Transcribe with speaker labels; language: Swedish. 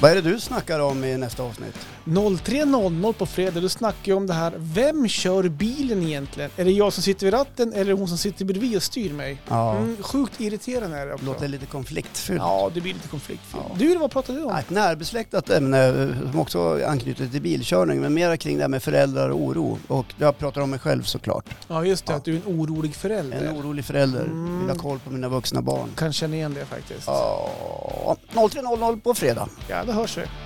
Speaker 1: Vad är det du snackar om i nästa avsnitt?
Speaker 2: 03.00 på fredag, då snackar vi om det här. Vem kör bilen egentligen? Är det jag som sitter vid ratten eller är det hon som sitter bredvid och styr mig?
Speaker 1: Ja.
Speaker 2: Mm, sjukt irriterande är det också.
Speaker 1: Låter lite konfliktfyllt.
Speaker 2: Ja, det blir lite konfliktfyllt.
Speaker 1: Ja.
Speaker 2: Du, vad pratar du om?
Speaker 1: Ja, Ett närbesläktat ämne eh, som också anknyter till bilkörning men mera kring det här med föräldrar och oro. Och jag pratar om mig själv såklart.
Speaker 2: Ja, just det,
Speaker 1: Ja.
Speaker 2: att du är en orolig förälder.
Speaker 1: En orolig förälder,
Speaker 2: Mm.
Speaker 1: vill ha koll på mina vuxna barn.
Speaker 2: Kan känna igen det faktiskt.
Speaker 1: Ja, 03.00 på fredag.
Speaker 2: Ja, det hörs vi.